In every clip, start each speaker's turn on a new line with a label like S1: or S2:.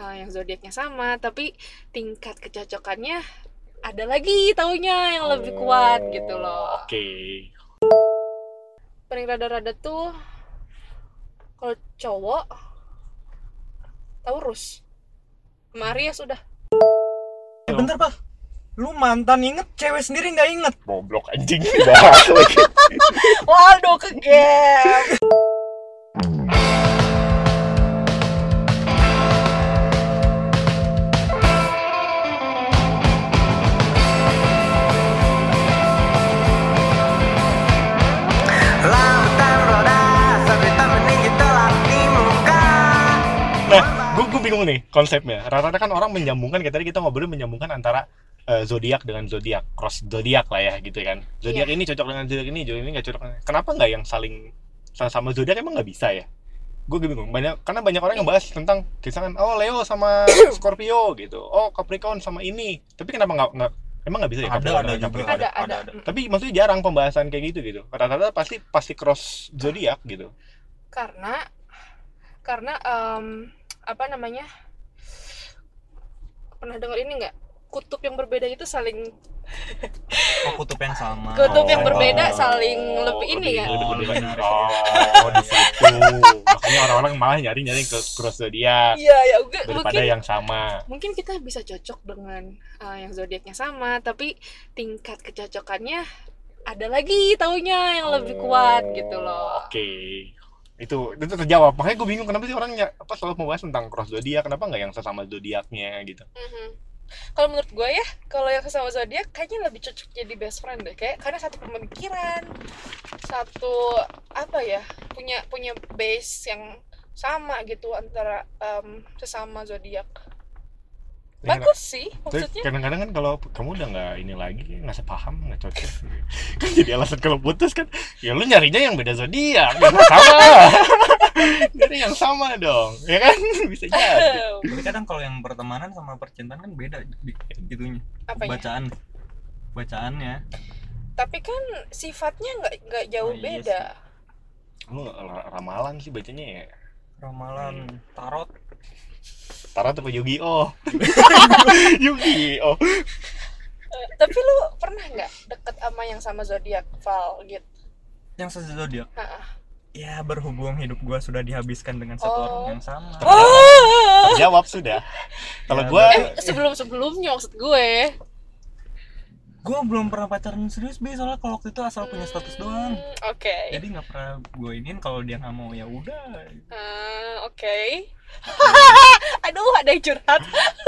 S1: eh, yang zodiaknya sama tapi tingkat kecocokannya ada lagi taunya yang lebih
S2: Oh.
S1: kuat gitu loh
S2: Oke.
S1: paling rada-rada tuh kalau cowok Taurus ya, sama Aries udah
S3: Eh, bentar pak lu mantan inget cewek sendiri nggak inget
S2: Goblok anjing. Bahas lagi.
S1: waduh ke game
S4: Lautan roda Sabrita meninggi telah di muka
S2: Nah, gue bingung nih konsepnya. Rata-rata kan orang menyambungkan kayak tadi kita ngobrolin menyambungkan antara eh, zodiak dengan zodiak, cross zodiak lah ya gitu kan. Zodiak
S1: Iya.
S2: ini cocok dengan zodiak ini, zodiak ini nggak cocok. dengan- Kenapa nggak yang saling sama-sama zodiak emang nggak bisa ya? Gue bingung. Banyak karena banyak orang yang bahas tentang kisaran oh Leo sama Scorpio gitu. Oh Capricorn sama ini. Tapi kenapa nggak nggak emang nggak bisa ya Capricorn dengan Capricorn?
S1: ada ada,
S2: Tapi maksudnya jarang pembahasan kayak gitu gitu. Rata-rata pasti pasti cross zodiak gitu.
S1: karena karena em, apa namanya pernah dengar ini nggak kutub yang berbeda itu saling
S3: Oh, kutub yang sama
S1: Kutub yang
S2: Oh.
S1: berbeda saling lebih ini ya.
S2: lebih
S3: Oh,
S2: berbeda.
S3: benar.
S2: Oh, di situ. Makanya orang-orang malah nyari-nyari ke cross zodiak
S1: iya ya enggak,
S2: daripada
S1: mungkin
S2: yang sama.
S1: mungkin kita bisa cocok dengan eh, yang zodiaknya sama tapi tingkat kecocokannya ada lagi taunya yang lebih kuat gitu loh
S2: Oh, Oke. Itu itu terjawab. Makanya gue bingung kenapa sih orang ny- apa selalu membahas tentang cross zodiak, kenapa nggak yang sesama zodiaknya gitu.
S1: Mhm. kalau menurut gue ya kalau yang sama zodiak kayaknya lebih cocok jadi best friend deh kayak karena satu pemikiran satu apa ya punya punya base yang sama gitu antara em, sesama zodiak
S2: Iya.
S1: bagus sih
S2: Tapi
S1: maksudnya
S2: kadang-kadang kan kalau kamu udah nggak ini lagi nggak sepaham nggak cocok kan jadi alasan kalau putus kan ya lu nyarinya yang beda zodiak yang sama nyari yang sama dong ya kan bisa jadi
S3: tapi kadang kalau yang pertemanan sama percintaan kan beda di- gitunya
S1: apanya
S3: bacaan bacaannya
S1: ya? tapi kan sifatnya nggak nggak jauh
S3: Oh, iya
S1: beda
S2: lu ra- ramalan sih bacanya ya
S3: ramalan Hmm. tarot
S2: Tara tuh Yugi Oh Yugi Oh
S1: Eh, tapi lu pernah nggak deket sama yang sama zodiak Val gitu
S3: yang sezodiak
S1: Heeh.
S3: ya berhubung hidup gua sudah dihabiskan dengan satu
S1: Oh.
S3: orang yang sama
S2: jawab sudah kalau
S3: Ya,
S2: gua
S1: eh sebelum sebelumnya maksud gue
S3: gua belum pernah pacaran serius bi soalnya kalau waktu itu asal punya status doang
S1: Hmm, oke
S3: jadi nggak pernah gue ingin kalau dia nggak mau ya udah
S1: Ah, oke. Aduh, ada yang curhat.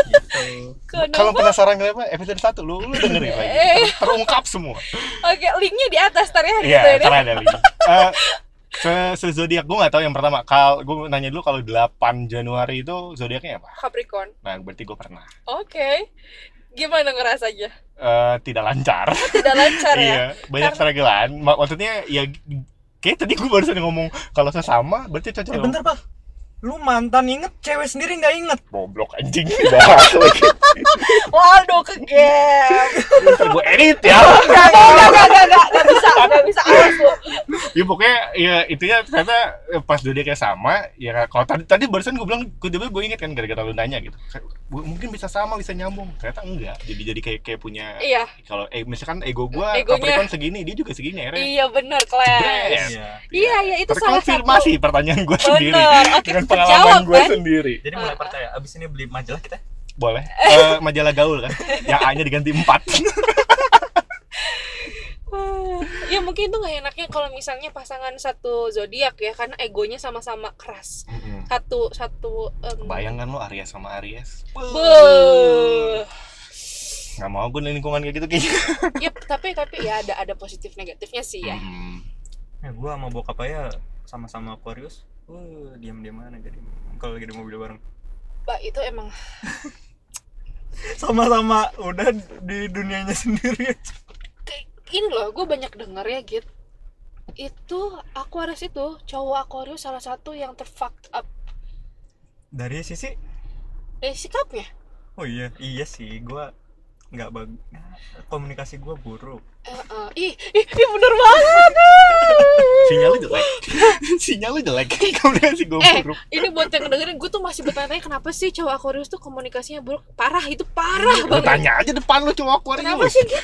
S3: gitu
S2: kalau
S1: Kenapa?
S2: penasaran kenapa episode 1 lu lu dengerin lagi
S1: Eh.
S2: Ter- terungkap semua
S1: Oke, linknya di atas tadi ya.
S2: Iya, karena ada link. Eh, se- se zodiak gue nggak tahu yang pertama. Kal, gue nanya dulu kalau 8 Januari itu zodiaknya apa?
S1: Capricorn.
S2: Nah, berarti gue pernah.
S1: Oke. Gimana ngerasanya?
S2: Eh, tidak lancar.
S1: Tidak lancar ya?
S2: iya, banyak seregelan. Mak- Maksudnya ya kayak tadi gue barusan ngomong kalau sesama berarti cocok.
S3: eh bentar pak lu mantan inget cewek sendiri nggak inget
S2: Goblok anjing. Bahas lagi.
S1: Waduh, ke game.
S2: Ntar gue edit ya.
S1: Gak, gak, gak, gak, gak, gak, gak bisa, gak bisa awas lu.
S2: ya pokoknya ya intinya ternyata eh, pas zodiaknya sama ya kalau tadi tadi barusan gue bilang gue tiba gue inget kan gara-gara lu nanya gitu Kayak, "Bu- mungkin bisa sama bisa nyambung ternyata enggak jadi jadi kayak kayak punya
S1: Iya,
S2: kalau eh, misalkan ego gua
S1: Egonya.
S2: Capricorn segini dia juga segini akhirnya
S1: iya bener, Clash.
S2: Yes.
S3: iya
S1: Iya, iya, itu salah satu.
S2: terkonfirmasi pertanyaan gua sendiri
S1: Bener, oke,
S2: dengan
S1: terjawab,
S2: pengalaman gua
S1: kan?
S2: sendiri
S3: jadi mulai percaya abis ini beli majalah kita
S2: boleh Eh, majalah gaul kan yang A nya diganti 4
S1: Ah, Ya mungkin itu gak enaknya kalau misalnya pasangan satu zodiak ya, karena egonya sama-sama keras. Satu, satu... em,
S2: bayangkan lo kan Aries sama Aries
S1: Beuh.
S2: nggak mau gue lingkungan kayak gitu kayaknya
S1: Yep, tapi tapi ya ada ada positif negatifnya sih ya.
S2: Mm.
S3: ya gue sama bokap aja sama-sama Aquarius uh diam diam mana jadi kalau lagi di mobil bareng
S1: Pak itu emang
S3: sama-sama udah di dunianya sendiri
S1: kayak ini loh, gue banyak denger ya gitu. Itu Aquarius itu cowok Aquarius salah satu yang terfucked up
S3: dari sisi
S1: dari sikapnya.
S3: oh iya iya sih gue nggak bagus komunikasi gue buruk
S1: Eh, eh. Ih, ih, ih, bener banget.
S2: sinyalnya jelek sinyalnya jelek kemudian si gue
S1: Eh.
S2: buruk
S1: Ini buat yang dengerin, gue tuh masih bertanya-tanya kenapa sih cowok Aquarius tuh komunikasinya buruk? Parah, itu parah
S2: lu
S1: banget.
S2: tanya aja depan lu cowok
S1: Kenapa
S2: Aquarius
S1: sih? Gi?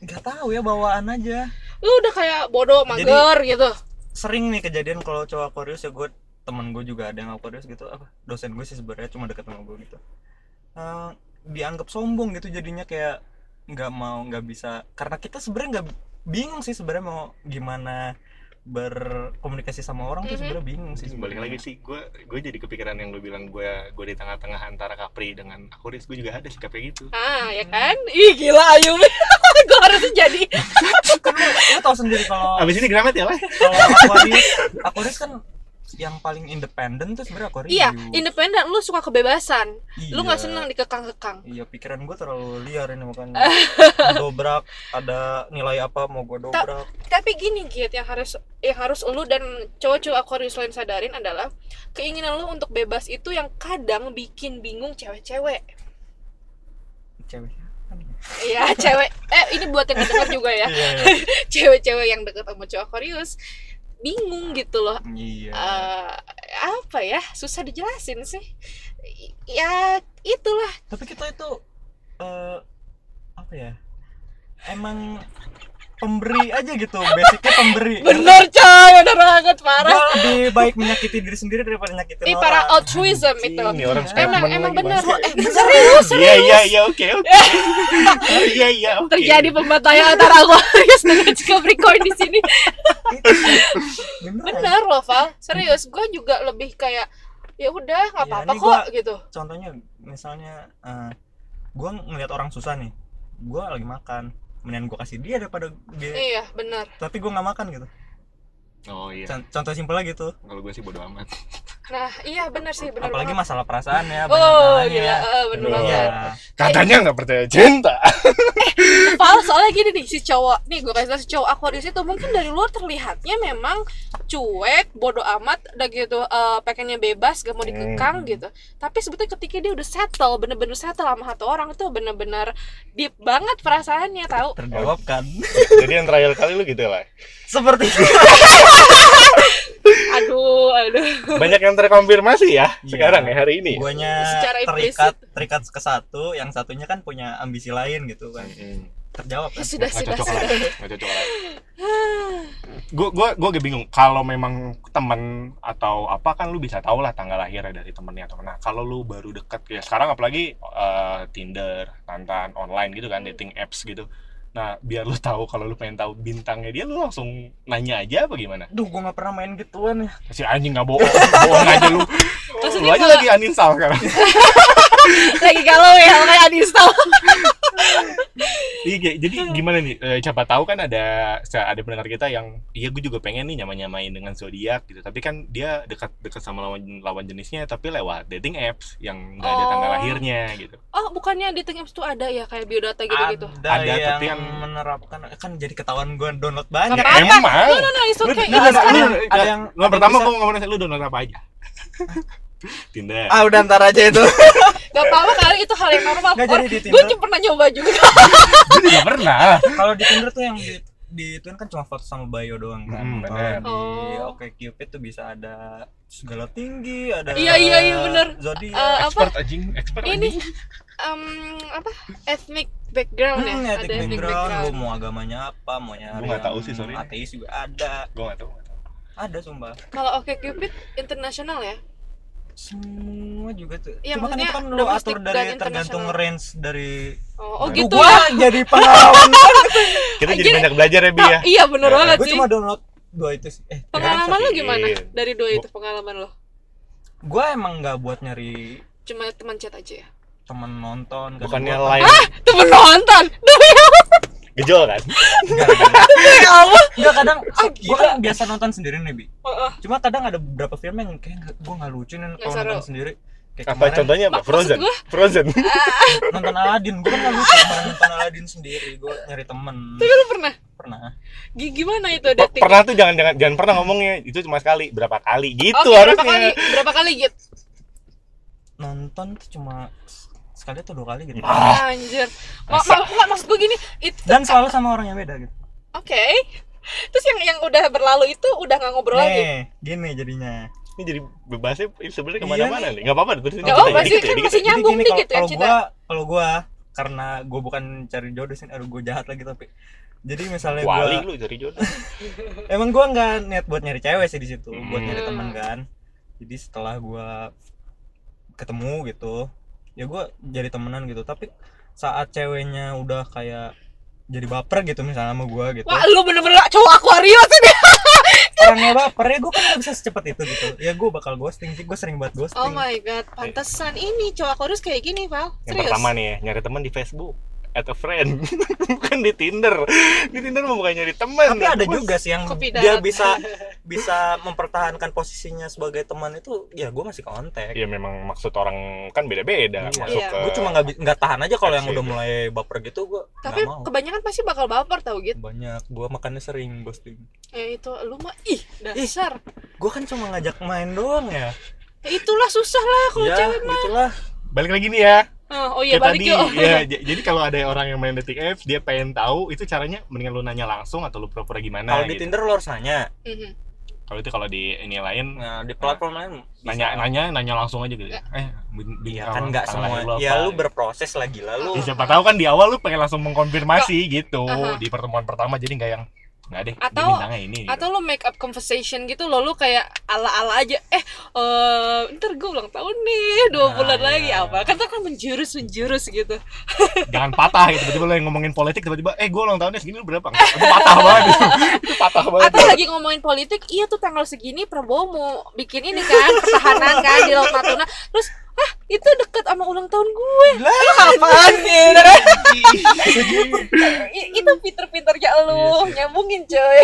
S3: nggak tahu ya bawaan aja
S1: Lu udah kayak bodoh, mager gitu.
S3: sering nih kejadian kalau cowok Aquarius ya gue temen gue juga ada yang Aquarius gitu apa dosen gue sih sebenarnya cuma deket sama gue gitu Eh, dianggap sombong gitu jadinya kayak nggak mau nggak bisa karena kita sebenarnya nggak bingung sih sebenarnya mau gimana berkomunikasi sama orang
S1: Mhm.
S3: tuh sebenarnya bingung sih
S2: Terus balik lagi sih gue gue jadi kepikiran yang lu bilang gue gue di tengah-tengah antara Capri dengan Aquarius gue juga ada sikap kayak gitu
S1: Ah, ya kan? Ih, gila Ayumi. gue harusnya jadi.
S3: lu tau sendiri kalau
S2: abis ini gramet ya lah
S3: kalau Aquarius Aquarius kan yang paling independen tuh sebenarnya Aquarius
S1: Iya, independen. Lu suka kebebasan. Lu nggak
S3: Iya.
S1: seneng dikekang-kekang.
S3: Iya pikiran gue terlalu liar ini makanya dobrak ada nilai apa mau gue dobrak
S1: tapi gini Git yang harus yang harus lu dan cowok-cowok Aquarius lain sadarin adalah keinginan lu untuk bebas itu yang kadang bikin bingung cewek-cewek
S3: ceweknya
S1: Iya cewek eh ini buat yang denger juga ya
S3: iya
S1: cewek-cewek yang deket sama cowok Aquarius bingung gitu loh
S3: iya
S1: Eh, apa ya susah dijelasin sih I- ya itulah
S3: tapi kita itu eh apa ya emang pemberi aja gitu basicnya pemberi
S1: bener coy bener banget parah
S3: Gua lebih baik menyakiti diri sendiri daripada nyakitin
S1: ini
S3: orang Eh,
S1: para altruism itu
S2: Ini Iya, orang
S1: Iya, emang
S2: statement
S1: emang
S2: lagi,
S1: bener
S2: Bang.
S1: eh serius
S2: iya iya iya oke oke Oh, iya iya oke
S1: terjadi pembantaian antara Aquarius dengan Capricorn di sini.
S3: Beneran.
S1: Bener loh, Val. Serius, gue juga lebih kayak ya udah nggak
S3: Iya,
S1: apa-apa
S3: ini
S1: kok
S3: gua-
S1: gitu.
S3: contohnya misalnya eh gue ngeliat orang susah nih gue lagi makan mendingan gue kasih dia daripada dia
S1: Iya, bener.
S3: tapi gue nggak makan gitu
S2: oh iya
S3: Con- contoh gitu. simpel lagi tuh
S2: kalau gue sih bodo amat
S1: Nah, iya bener sih, bener
S3: apalagi
S1: banget.
S3: masalah perasaan ya
S1: Oh,
S3: banyak ya.
S1: gila,
S3: nanya.
S1: eh, bener
S2: Iya.
S1: banget.
S2: katanya nggak percaya cinta
S1: Val, soalnya gini nih, si cowok, nih gue kasih tau si cowok Aquarius itu mungkin dari luar terlihatnya memang cuek, bodoh amat, udah gitu, eh, pengennya bebas, gak mau dikekang
S2: Hmm.
S1: gitu. Tapi sebetulnya ketika dia udah settle, bener-bener settle sama satu orang itu bener-bener deep banget perasaannya, tahu?
S3: terjawabkan
S2: jadi yang terakhir kali lu gitu lah
S3: seperti itu
S1: Aduh, aduh.
S2: banyak yang terkonfirmasi ya
S3: Iya.
S2: sekarang ya hari ini ya?
S3: guanya
S1: Secara
S3: terikat terikat ke satu yang satunya kan punya ambisi lain gitu kan
S2: Mm-mm.
S3: terjawab
S1: Ya
S3: kan
S1: sudah,
S2: Nggak
S1: sudah,
S2: cocok
S1: sudah.
S2: lah nggak cocok lah gue gue gue agak bingung kalau memang temen atau apa kan lu bisa tahu lah tanggal lahirnya dari temennya atau nah kalau lu baru deket ya sekarang apalagi eh, Tinder Tantan online gitu kan dating apps gitu nah biar lu tahu kalau lu pengen tahu bintangnya dia lu langsung nanya aja apa gimana
S3: duh gue gak pernah main gituan ya
S2: si anjing nggak bohong bohong aja lu lu
S1: Maksudnya
S2: aja
S1: kalau-
S2: lagi uninstall sekarang
S1: lagi galau ya kayak uninstall
S2: Iya, kayak- jadi gimana nih? Eh, siapa tahu kan ada ada pendengar kita yang iya gue juga pengen nih nyama-nyamain dengan zodiak gitu. Tapi kan dia dekat-dekat sama lawan lawan jenisnya tapi lewat dating apps yang nggak ada tanggal
S1: Oh.
S2: lahirnya gitu.
S1: oh bukannya dating apps tuh ada ya kayak biodata gitu-gitu
S3: ada,
S2: Ada,
S3: yang
S2: tapi yang-
S3: menerapkan kan jadi ketahuan gue download banyak
S2: Ya,
S1: apa-apa.
S2: emang.
S1: no no it's
S2: Lu-
S1: okay it's
S2: lu download-
S1: okay.
S2: lu-
S3: Ada- ada yang-
S2: Nah,
S3: ada
S2: pertama
S3: yang
S2: gue mau nanya lu download apa aja? Tinder.
S3: ah udah ntar aja itu
S1: gak apa-apa kali itu hal yang normal
S3: Nggak, jadi di
S1: gue
S3: Tinder.
S1: cuma pernah nyoba juga
S2: Gue juga pernah.
S3: kalau di Tinder tuh yang di di Twin kan cuma foto sama bio doang kan
S2: Hmm,
S3: kalau
S2: bener.
S3: di
S1: Oh.
S3: Oke Cupid tuh bisa ada segala tinggi ada
S1: Iya, iya, iya, bener.
S3: zodiak
S1: Eh, apa
S2: Expert anjing, expert
S1: ini
S2: anjing.
S1: em, apa ethnic background ya
S3: Hmm,
S1: ada
S3: ethnic background, lu mau agamanya apa, mau nyari
S2: nggak
S3: yang
S2: tahu sih, sorry.
S3: Ateis juga ada,
S2: Gue gak tau.
S3: ada sumpah.
S1: kalau oke cupid internasional ya
S3: Semua juga tuh.
S1: Iya,
S3: Cuma kan
S1: maksudnya
S3: itu kan lu
S1: domestic
S3: atur
S1: dan
S3: dari tergantung
S1: internasional.
S3: range dari.
S1: oh, oh
S3: Aduh,
S1: gitu
S3: gua
S1: ya
S3: jadi pengalaman.
S2: Kita jadi
S1: Jadi-
S2: banyak belajar ya, Bi ya.
S1: Ah, iya bener
S2: Ya,
S1: banget
S3: gue
S1: sih
S3: cuma download dua itu sih. Eh,
S1: pengalaman
S2: Ya,
S1: lu
S2: tapi-
S1: gimana dari dua itu pengalaman lo
S3: gue emang nggak buat nyari
S1: cuma teman chat aja ya
S3: temen nonton. kadang
S2: Bukannya
S1: Ah.
S3: gua-
S2: lain
S1: temen nonton
S2: gejol kan?
S3: Nggak, nggak.
S1: ya Allah
S3: Nggak kadang.
S1: Ah,
S3: Gue kan biasa nonton sendiri nih bi.
S1: Heeh.
S3: Cuma kadang ada beberapa film yang kayak gue nggak lucu nih kalau
S1: seru.
S3: nonton sendiri. Kayak
S2: Apa
S3: kemarin-
S2: contohnya apa?
S1: Mak- maksud
S2: Frozen.
S1: gua-
S2: Frozen.
S3: nonton Aladin gue kan gak lucu kemarin nonton Aladin sendiri gue nyari temen
S1: lu pernah
S3: pernah
S1: Gi- gimana itu
S2: Per-
S1: dating
S2: pernah tuh jangan jangan jangan pernah ngomongnya itu cuma sekali berapa kali
S1: Oke,
S2: gitu
S1: berapa
S2: harusnya
S1: kali berapa kali gitu
S3: nonton tuh cuma s- sekali atau dua kali gitu
S2: Ah.
S1: Anjir. Ma ma nggak, maksud gue gini, it
S3: dan selalu sama orang yang beda gitu
S1: oke. Terus yang yang udah berlalu itu udah nggak ngobrol lagi.
S3: nih gini jadinya
S2: Ini jadi bebasnya ini sebenarnya
S3: Iya
S2: kemana-mana
S3: nih.
S2: nih. Gak apa-apa terusin.
S1: Nggak apa-apa sih,
S2: Dikit ya,
S1: kan
S2: dikit ya.
S1: masih nyambung
S3: gini,
S1: dikit ya
S3: kalau
S1: cinta.
S3: gua kalau gua karena gua bukan cari jodoh sih aduh gua jahat lagi tapi jadi misalnya gua
S2: Wali lu cari jodoh.
S3: emang gua nggak niat buat nyari cewek sih di situ buat nyari
S1: Hmm.
S3: teman kan jadi setelah gua ketemu gitu ya gua jadi temenan gitu tapi saat ceweknya udah kayak jadi baper gitu misalnya sama gua gitu
S1: Wah, lu bener-bener cowok Aquarius ini.
S3: orangnya baper ya gua kan nggak bisa secepat itu gitu ya gua bakal ghosting sih gua sering buat ghosting
S1: Oh my god, pantesan ini cowok Aquarius kayak gini, Val.
S2: Yang
S1: Serius.
S2: pertama nih ya, nyari teman di Facebook at a friend bukan di Tinder di Tinder mah bukan nyari teman
S3: tapi ada
S2: Bos.
S3: juga sih yang
S1: Kopi darat.
S3: dia bisa bisa mempertahankan posisinya sebagai teman itu ya gue masih kontak
S2: ya memang maksud orang kan beda-beda
S3: Iya.
S2: masuk
S1: Iya.
S2: ke
S3: gue cuma nggak bi- nggak tahan aja kalau yang
S2: Kasih
S3: udah
S2: gue.
S3: mulai baper gitu gue
S1: Tapi
S3: nggak mau
S1: kebanyakan pasti bakal baper tau gitu.
S3: banyak gue makannya sering ghosting
S1: Ya itu lu mah ih dasar.
S3: gue kan cuma ngajak main doang ya
S1: Ya itulah susah lah
S2: Ah,
S1: kalau
S3: ya
S1: cewek.
S3: gitulah
S2: balik lagi nih ya
S1: Oh, oh iya
S2: kayak
S1: balik
S2: tadi
S1: yuk.
S2: ya j- jadi kalau ada orang yang main detik F dia pengen tahu itu caranya mendingan lu nanya langsung atau lu pura-pura gimana
S3: kalau di
S2: gitu.
S3: Tinder lo harus nanya
S1: Mhm.
S2: kalau itu kalau di ini lain
S3: nah di platform lain bisa.
S2: nanya nanya nanya langsung aja gitu eh bin- bin-
S3: Iya
S2: awal
S3: kan nggak
S2: tanggal lahir
S3: semua
S2: apa,
S3: ya lu
S2: gitu.
S3: berproses lah gila lu
S2: Ya, siapa tahu kan di awal lu pengen langsung mengkonfirmasi gitu
S1: Aha.
S2: di pertemuan pertama jadi nggak yang nggak deh
S1: Atau-
S2: dia bintangnya ini
S3: Iya.
S2: gitu.
S1: Atau lo make up conversation gitu lo lo kayak ala-ala aja. Eh, eh ntar gue ulang tahun nih, dua
S3: Nah,
S1: bulan
S3: iya.
S1: lagi apa? Kan ntar kan menjurus menjurus gitu.
S2: jangan patah gitu tiba-tiba lo yang ngomongin politik tiba-tiba eh gue ulang tahunnya segini lu berapa Nggak, itu patah banget itu, Itu patah
S3: Oh,
S2: banget
S1: Atau lagi ngomongin politik, iya tuh tanggal segini Prabowo mau bikin ini kan pertahanan kan di Laut Natuna. Terus ah itu deket sama ulang tahun gue.
S3: Lah,
S1: Apaan nih?
S2: Iya, Gitu.
S1: itu pinter-pinternya lo
S2: Iya sih.
S1: nyambungin coy.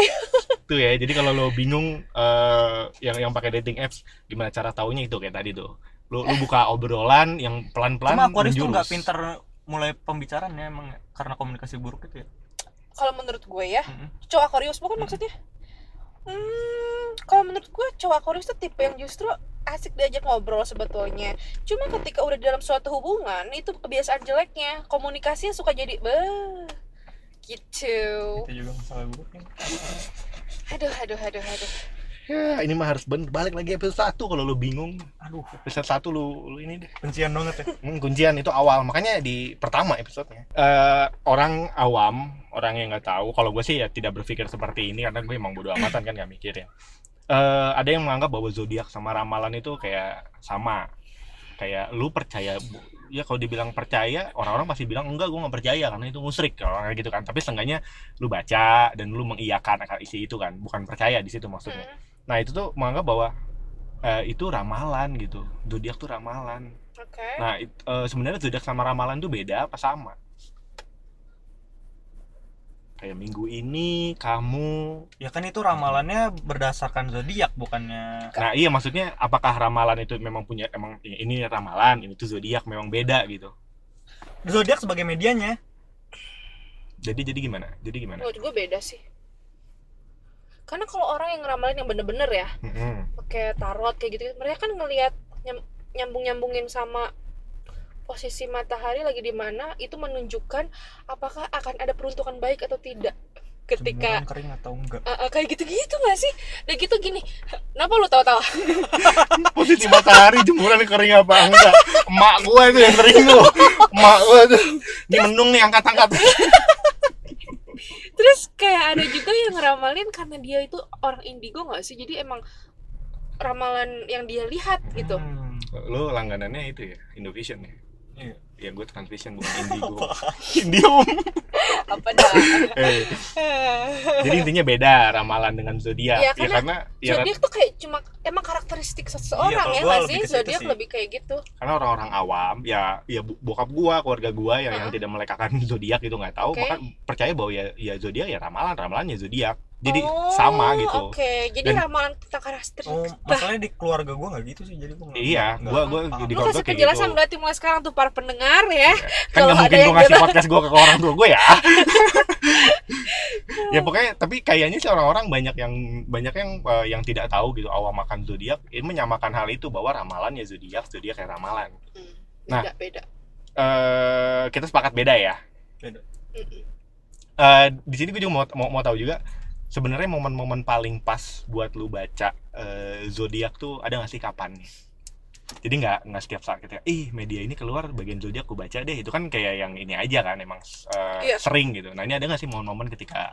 S2: tuh ya jadi kalau lo bingung eh, yang yang pakai dating apps gimana cara taunya itu kayak tadi tuh lo lo buka obrolan yang pelan-pelan
S3: cuma Aquarius tuh
S2: menjurus.
S3: nggak pinter mulai pembicaraan ya emang ya, karena komunikasi buruk itu ya
S1: Kalau menurut gue ya,
S3: Mm-mm.
S1: cowok Aquarius bukan
S3: Hmm.
S1: maksudnya hmm, kalau menurut gue cowok Aquarius tuh tipe yang justru asik diajak ngobrol sebetulnya cuma ketika udah dalam suatu hubungan itu kebiasaan jeleknya komunikasinya suka jadi beh gitu
S3: itu juga masalah buruk kan
S1: aduh aduh aduh aduh
S2: ya ini mah harus bener balik lagi episode satu kalau lo bingung
S3: aduh
S2: episode satu lo lo ini deh
S3: pencian banget ya
S2: Hmm, kuncian itu awal makanya di pertama episodenya Eh, orang awam orang yang nggak tahu kalau gue sih ya tidak berpikir seperti ini karena gue emang bodo amatan kan nggak mikir ya Eh, ada yang menganggap bahwa zodiak sama ramalan itu kayak sama kayak lu percaya bu- ya kalau dibilang percaya orang-orang masih bilang enggak gue nggak percaya karena itu musrik orang gitu kan tapi seenggaknya lu baca dan lu mengiyakan akan isi itu kan bukan percaya di situ maksudnya
S1: Hmm,
S2: nah itu tuh menganggap bahwa eh, itu ramalan gitu zodiak tuh ramalan
S1: oke
S2: Nah, it- eh, sebenarnya zodiak sama ramalan tuh beda apa sama? Kayak minggu ini kamu.
S3: Ya kan itu ramalannya berdasarkan zodiak bukannya
S2: Nah, iya maksudnya apakah ramalan itu memang punya emang ya, ini ramalan, ini tuh zodiak memang beda gitu.
S3: zodiak sebagai medianya.
S2: Jadi jadi gimana? Jadi gimana?
S1: menurut gue beda sih karena kalau orang yang ngeramalin yang bener-bener ya
S2: Mm-mm.
S1: pakai tarot kayak gitu mereka kan ngelihat nyambung nyambungin sama posisi matahari lagi di mana itu menunjukkan apakah akan ada peruntukan baik atau tidak ketika
S3: Jemuran kering atau enggak.
S1: Eh, eh, kayak gitu-gitu gak sih? Dan gitu gini, kenapa lu tahu-tahu?
S2: Posisi matahari jemuran kering apa enggak? Emak gue itu yang kering tuh. Emak gue tuh. Ini mendung nih angkat-angkat.
S1: Terus kayak ada juga yang ngeramalin karena dia itu orang indigo gak sih? Jadi emang ramalan yang dia lihat gitu.
S3: Hmm.
S2: Lo langganannya itu ya, Indovision ya.
S3: Iya.
S2: Ya gue transvision bukan Indigo. Indium.
S1: Apa dah?
S2: Eh,
S3: Iya,
S2: jadi intinya beda ramalan dengan zodiak
S1: Iya,
S2: ya,
S1: karena
S2: karena ya,
S1: zodiak tuh kayak cuma emang karakteristik seseorang ya
S3: Iya, kalau gua
S1: gak sih?
S3: lebih ke situ
S1: Zodiak
S3: sih.
S1: lebih kayak gitu.
S2: karena orang-orang awam ya ya bu- bokap gua keluarga gua ya, yang, yang
S1: Heeh.
S2: tidak melekakan zodiak itu nggak tahu
S1: Oke.
S2: maka percaya bahwa ya ya zodiak ya ramalan ramalannya zodiak jadi
S1: Oh,
S2: sama gitu
S1: Oke, jadi
S2: Dan-
S1: ramalan tentang karakteristik.
S3: Oh, masalahnya di keluarga gua nggak gitu sih jadi gua nggak-
S2: iya
S3: nggak
S2: gua
S3: Ah,
S2: gua
S3: paham.
S2: di
S1: Lu
S2: keluarga
S1: kasih
S2: kayak
S1: penjelasan
S2: gitu
S1: berarti mulai sekarang tuh para pendengar ya.
S2: kan
S1: Kalau
S2: nggak
S1: ada yang
S2: mungkin
S1: gitu.
S2: gua ngasih
S1: jodoh.
S2: podcast gua ke orang tua gua ya ya pokoknya tapi kayaknya sih orang-orang banyak yang banyak yang eh, yang tidak tahu gitu awam makan zodiak ini menyamakan hal itu bahwa ya ramalan ya zodiak zodiak kayak ramalan
S1: Hmm,
S2: Nah.
S1: beda beda.
S2: eh, kita sepakat beda ya.
S3: Beda.
S1: Mm-mm.
S2: Eh, di sini gue juga mau mau, mau tahu juga sebenarnya momen-momen paling pas buat lu baca eh, zodiak tuh ada nggak sih kapan nih? Jadi nggak nggak setiap saat ketika ih media ini keluar bagian zodiak gue baca deh itu kan kayak yang ini aja kan emang eh,
S1: Iya.
S2: sering gitu. Nah ini ada nggak sih momen-momen ketika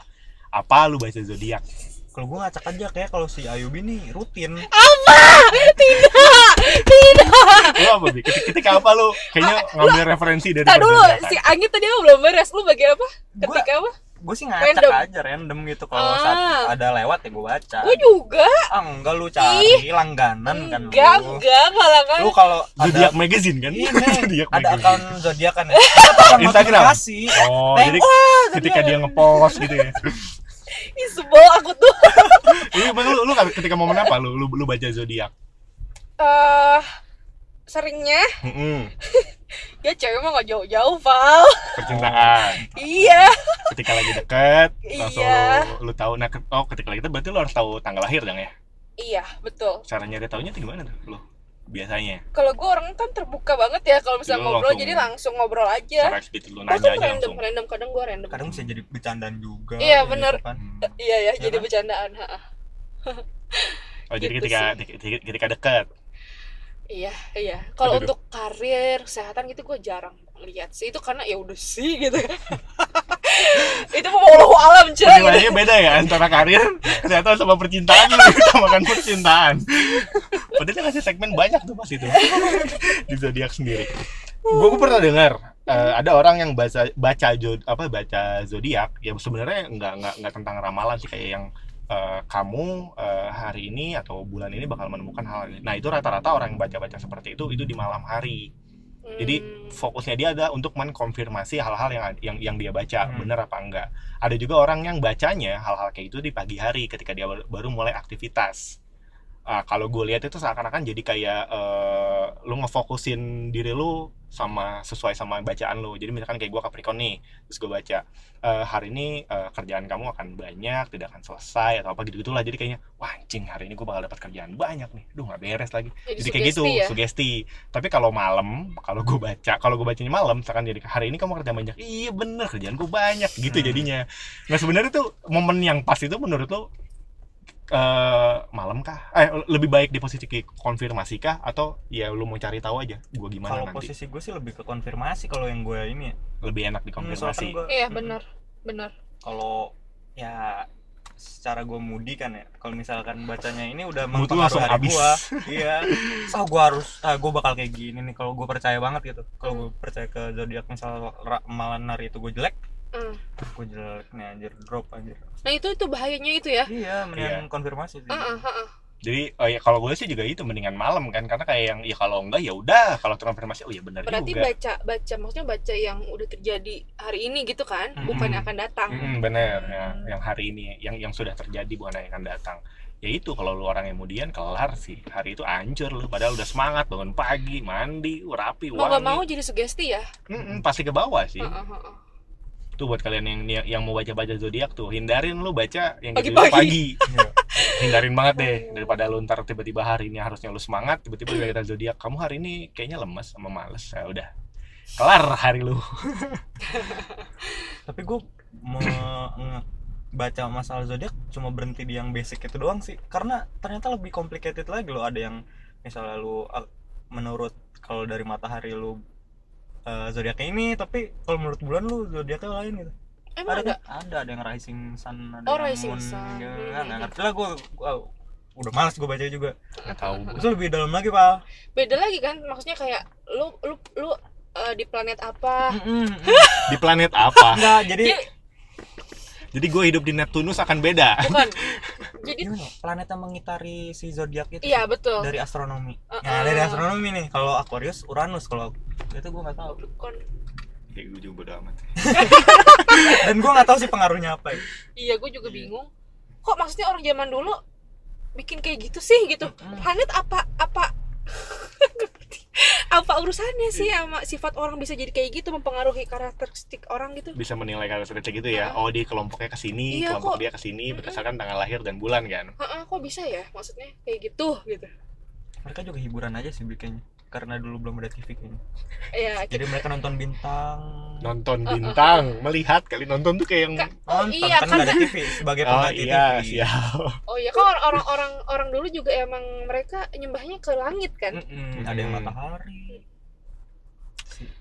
S2: apa lu baca zodiak?
S3: Kalau gue ngacak aja kayak kalau si Ayubi nih rutin.
S2: lu apa Bi? Ketika, ketika apa lu kayaknya ngambil referensi dari
S1: Ah,
S2: kan.
S1: Tak dulu,
S2: perzodiakan?
S1: si Angit tadi aku belum beres. Lu bagian apa?
S3: Gue
S1: Ketika apa?
S3: gue sih ngacak
S1: Random.
S3: aja random gitu
S1: Ah.
S3: kalau saat ada lewat ya gue baca.
S1: Gue juga.
S3: Ah enggak lu cari langganan kan lu.
S1: Enggak, enggak. Malah kan.
S3: Lu kalau ada
S2: Zodiac magazine kan?
S1: Iya,
S3: Ini,
S2: Zodiac
S3: ada
S2: magazine.
S3: akun zodiak kan ya. Ada
S2: Instagram.
S3: notifikasi.
S2: Oh,
S3: Thank-
S2: jadi
S3: Wah,
S2: ketika
S3: zodiak.
S2: dia ngepost gitu ya.
S1: Ih, sebel aku tuh.
S2: Ini bang, lu, lu ketika momen apa lu lu, lu baca zodiak?
S1: Eh, seringnya
S2: Mm-mm.
S1: ya cewek mah gak jauh-jauh, Val.
S2: Percintaan.
S1: Iya.
S2: Ketika lagi deket, langsung
S1: Iya.
S2: lu, lu tahu nah ke- oh ketika lagi deket berarti lu harus tahu tanggal lahir dong ya.
S1: Iya, betul.
S2: Cara nyari tahunya tuh gimana tuh lu? Biasanya
S1: Kalau gue orang kan terbuka banget ya kalau misalnya
S2: Lu
S1: ngobrol,
S2: langsung-
S1: jadi langsung ngobrol aja.
S2: cara explicit lu
S1: Gue
S2: nanya
S1: tuh
S2: aja
S1: Iya. random,
S2: langsung.
S1: random kadang gue random.
S3: Kadang bisa jadi bercandaan juga.
S1: Iya,
S3: gitu
S1: bener.
S3: kan.
S2: Hmm.
S1: Iya ya, jadi
S3: kan?
S1: bercandaan. ha-ha.
S2: Oh, jadi
S1: Gitu
S2: ketika ketika, ketika deket.
S1: Iya, iya. Kalau
S2: Aduh,
S1: untuk karir, kesehatan gitu gue jarang lihat sih. Itu karena ya udah sih gitu. itu mau Allah alam cuy. gitu.
S2: Penilaiannya beda ya antara karir, kesehatan sama percintaan lu samakan percintaan. Padahal dia ngasih segmen banyak tuh pas itu di zodiak sendiri. Gue pernah dengar eh, ada orang yang baca baca jo- apa baca zodiak yang sebenarnya nggak nggak nggak tentang ramalan sih kayak yang eh, kamu eh, hari ini atau bulan ini bakal menemukan hal ini. Nah itu rata-rata orang yang baca-baca seperti itu itu di malam hari jadi
S1: Hmm.
S2: fokusnya dia ada untuk mengkonfirmasi hal-hal yang yang yang dia baca
S3: Hmm.
S2: bener apa enggak ada juga orang yang bacanya hal-hal kayak itu di pagi hari ketika dia baru, baru mulai aktivitas Ah, kalau gue lihat itu seakan-akan jadi kayak eh, lu ngefokusin diri lu sama sesuai sama bacaan lu jadi misalkan kayak gue Capricorn nih terus gue baca eh, hari ini eh, kerjaan kamu akan banyak tidak akan selesai atau apa gitu gitulah jadi kayaknya wah anjing hari ini gue bakal dapat kerjaan banyak nih duh nggak beres lagi
S1: jadi,
S2: jadi kayak gitu
S1: sugesti ya.
S2: sugesti tapi kalau malam kalau gue baca kalau gue bacanya malam misalkan jadi hari ini kamu kerja banyak iya bener kerjaan gue banyak gitu
S3: Hmm.
S2: jadinya nah sebenarnya tuh momen yang pas itu menurut lo eh malam kah eh lebih baik di posisi konfirmasi kah atau ya lu mau cari tahu aja gue gimana
S3: Kalau
S2: nanti
S3: posisi gue sih lebih ke konfirmasi kalau yang gue ini ya.
S2: lebih enak
S3: Hmm,
S2: dikonfirmasi
S3: soalnya kan gua-
S1: Iya,
S3: Mm-mm.
S1: benar. Benar.
S3: kalau ya secara gue mudi kan ya kalau misalkan bacanya ini udah
S2: Mood lu langsung
S3: mempengaruhi hari
S2: habis.
S3: gue iya so gue harus ah, gue bakal kayak gini nih kalau gue percaya banget gitu kalau gue percaya ke zodiak misal ra- malan hari itu gue jelek
S1: Hmm.
S3: gue jelek nih anjir drop anjir
S1: Nah, itu itu bahayanya itu ya.
S3: iya mendingan konfirmasi sih
S2: Hmm.
S1: Heeh, heeh.
S2: jadi eh, ya kalau gue sih juga itu mendingan malam kan karena kayak yang ya kalau enggak ya udah kalau terkonfirmasi oh ya benar
S1: Berarti
S2: juga
S1: baca baca maksudnya baca yang udah terjadi hari ini gitu kan,
S2: Hmm.
S1: bukan yang akan datang.
S2: Mm, bener ya. yang hari ini yang yang sudah terjadi bukan yang akan datang ya itu kalau lu orang yang kemudian kelar sih hari itu hancur lu padahal udah semangat bangun pagi mandi rapi
S1: Mau gak
S2: wangi
S1: mau jadi sugesti ya.
S2: Mm-mm, pasti ke bawah sih
S1: Heeh, heeh.
S2: tuh buat kalian yang yang, yang mau baca baca zodiak tuh hindarin lu baca yang
S1: Pagi-pagi.
S2: gitu-gitu pagi
S3: Iya.
S2: hindarin banget deh daripada lu ntar tiba-tiba hari ini harusnya lu semangat tiba-tiba lu baca zodiak kamu hari ini kayaknya lemes sama males ya udah kelar hari lu
S3: tapi gue baca masalah zodiak cuma berhenti di yang basic itu doang sih karena ternyata lebih complicated lagi loh ada yang misalnya lu ah, menurut kalau dari matahari lu eh, zodiaknya ini tapi kalau menurut bulan lu zodiaknya lain gitu
S1: Emang
S3: ada
S1: ada?
S3: ada ada yang rising sun ada
S1: Oh,
S3: yang
S1: rising
S3: moon
S1: sun.
S3: gitu
S1: Hmm.
S3: kan nggak ngerti lah gue udah males gue baca juga
S2: nggak tahu
S3: itu lebih dalam lagi pak
S1: Beda lagi kan, maksudnya kayak lu lu lu eh, di planet
S2: Hmm.
S1: apa?
S3: Mm-mm.
S2: di planet apa
S3: enggak jadi
S1: Dia-
S2: jadi gue hidup di Neptunus akan beda
S1: Bukan. Jadi
S3: gimana ya, planet yang mengitari si zodiak itu
S1: iya betul.
S3: dari astronomi.
S1: Uh-uh.
S2: ya,
S3: Nah, dari astronomi nih. Kalau Aquarius, Uranus. Kalau itu gue nggak tahu.
S1: Bukan.
S2: ya gue juga bodo amat
S3: Dan gue nggak tahu sih pengaruhnya apa. Ya.
S1: Iya, gue juga bingung. Kok maksudnya orang zaman dulu bikin kayak gitu sih gitu?
S3: Mm-mm.
S1: Planet apa apa apa urusannya sih
S3: Iya.
S1: sama sifat orang bisa jadi kayak gitu mempengaruhi karakteristik orang gitu?
S2: bisa menilai karakteristik gitu ya. Oh, di kelompoknya ke sini,
S1: Iya,
S2: kelompok
S1: kok.
S2: dia ke sini berdasarkan tanggal lahir dan bulan kan.
S1: Heeh, kok bisa ya? Maksudnya kayak gitu gitu.
S3: Mereka juga hiburan aja sih bikinnya. karena dulu belum ada TV kayaknya
S1: ya
S3: jadi mereka nonton bintang
S1: Oh,
S2: nonton
S1: oh,
S2: bintang melihat kali nonton tuh kayak yang
S1: Ka- oh
S3: nonton
S1: iya
S3: kan
S1: kan
S3: nggak ada TV sebagai
S2: oh
S3: pengganti
S2: iya
S3: TV
S2: siap
S1: oh iya kan orang orang orang dulu juga emang mereka nyembahnya ke langit kan
S3: Mm-mm, Iya, ada yang
S2: Mm.
S3: matahari Si-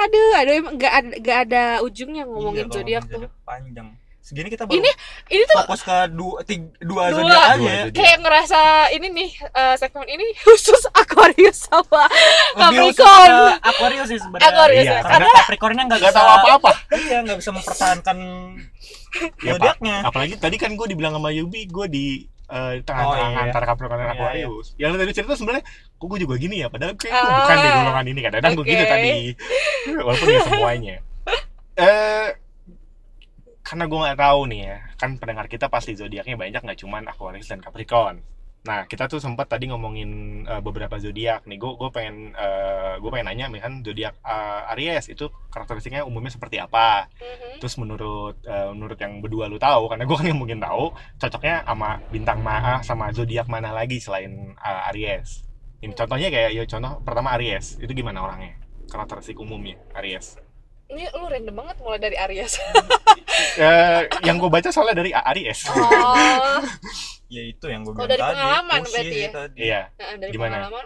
S1: aduh aduh emang nggak ada nggak ada ujungnya
S3: iya,
S1: ngomongin
S3: kalau
S1: zodiak
S3: ngomongin
S1: tuh
S3: zodiak panjang segini kita baru
S1: ini ini tuh
S3: fokus ke dua tiga, dua,
S1: Dua.
S3: zodiak aja
S2: Dua zodiak.
S1: kayak ngerasa ini nih eh, segmen ini khusus Aquarius sama
S3: Lebih
S1: Capricorn.
S3: khusus ke Aquarius sih sebenarnya
S1: Aquarius
S2: Iya,
S1: ya.
S3: karena
S1: karena
S3: Capricornnya nggak
S2: nggak
S3: bisa
S2: tahu apa-apa
S3: iya nggak bisa mempertahankan
S2: Ya, Pak.
S3: zodiaknya
S2: apalagi tadi kan gue dibilang sama Yubi gue di eh, di tengah-tengah
S3: Oh, iya.
S2: antara Capricorn dan
S3: Iya, Oh.
S2: Aquarius yang tadi cerita sebenarnya kok gue juga gini ya padahal kayak gue
S1: Ah.
S2: bukan di golongan ini kadang-kadang gue gitu
S1: Oke.
S2: tadi walaupun ya semuanya eh karena gue nggak tahu nih ya kan pendengar kita pasti zodiaknya banyak nggak cuman Aquarius dan Capricorn nah kita tuh sempat tadi ngomongin eh, beberapa zodiak nih gue gue pengen gue pengen nanya misalkan zodiak eh, Aries itu karakteristiknya umumnya seperti apa
S3: Mm-hmm.
S1: Mhm.
S2: terus menurut eh, menurut yang berdua lu tahu karena gue kan yang mungkin tahu cocoknya sama bintang maa sama zodiak mana lagi selain eh, Aries ini contohnya kayak ya contoh pertama Aries itu gimana orangnya karakteristik umumnya Aries
S1: ini lu random banget mulai dari Aries
S2: Eh, yang gue baca soalnya dari A- Aries
S1: oh
S3: ya itu yang gue
S1: Kalau
S3: bilang
S1: dari
S3: tadi
S1: pengalaman
S3: Pusing
S1: berarti ya?
S3: tadi.
S2: iya
S1: Nah, dari
S2: Gimana?
S1: pengalaman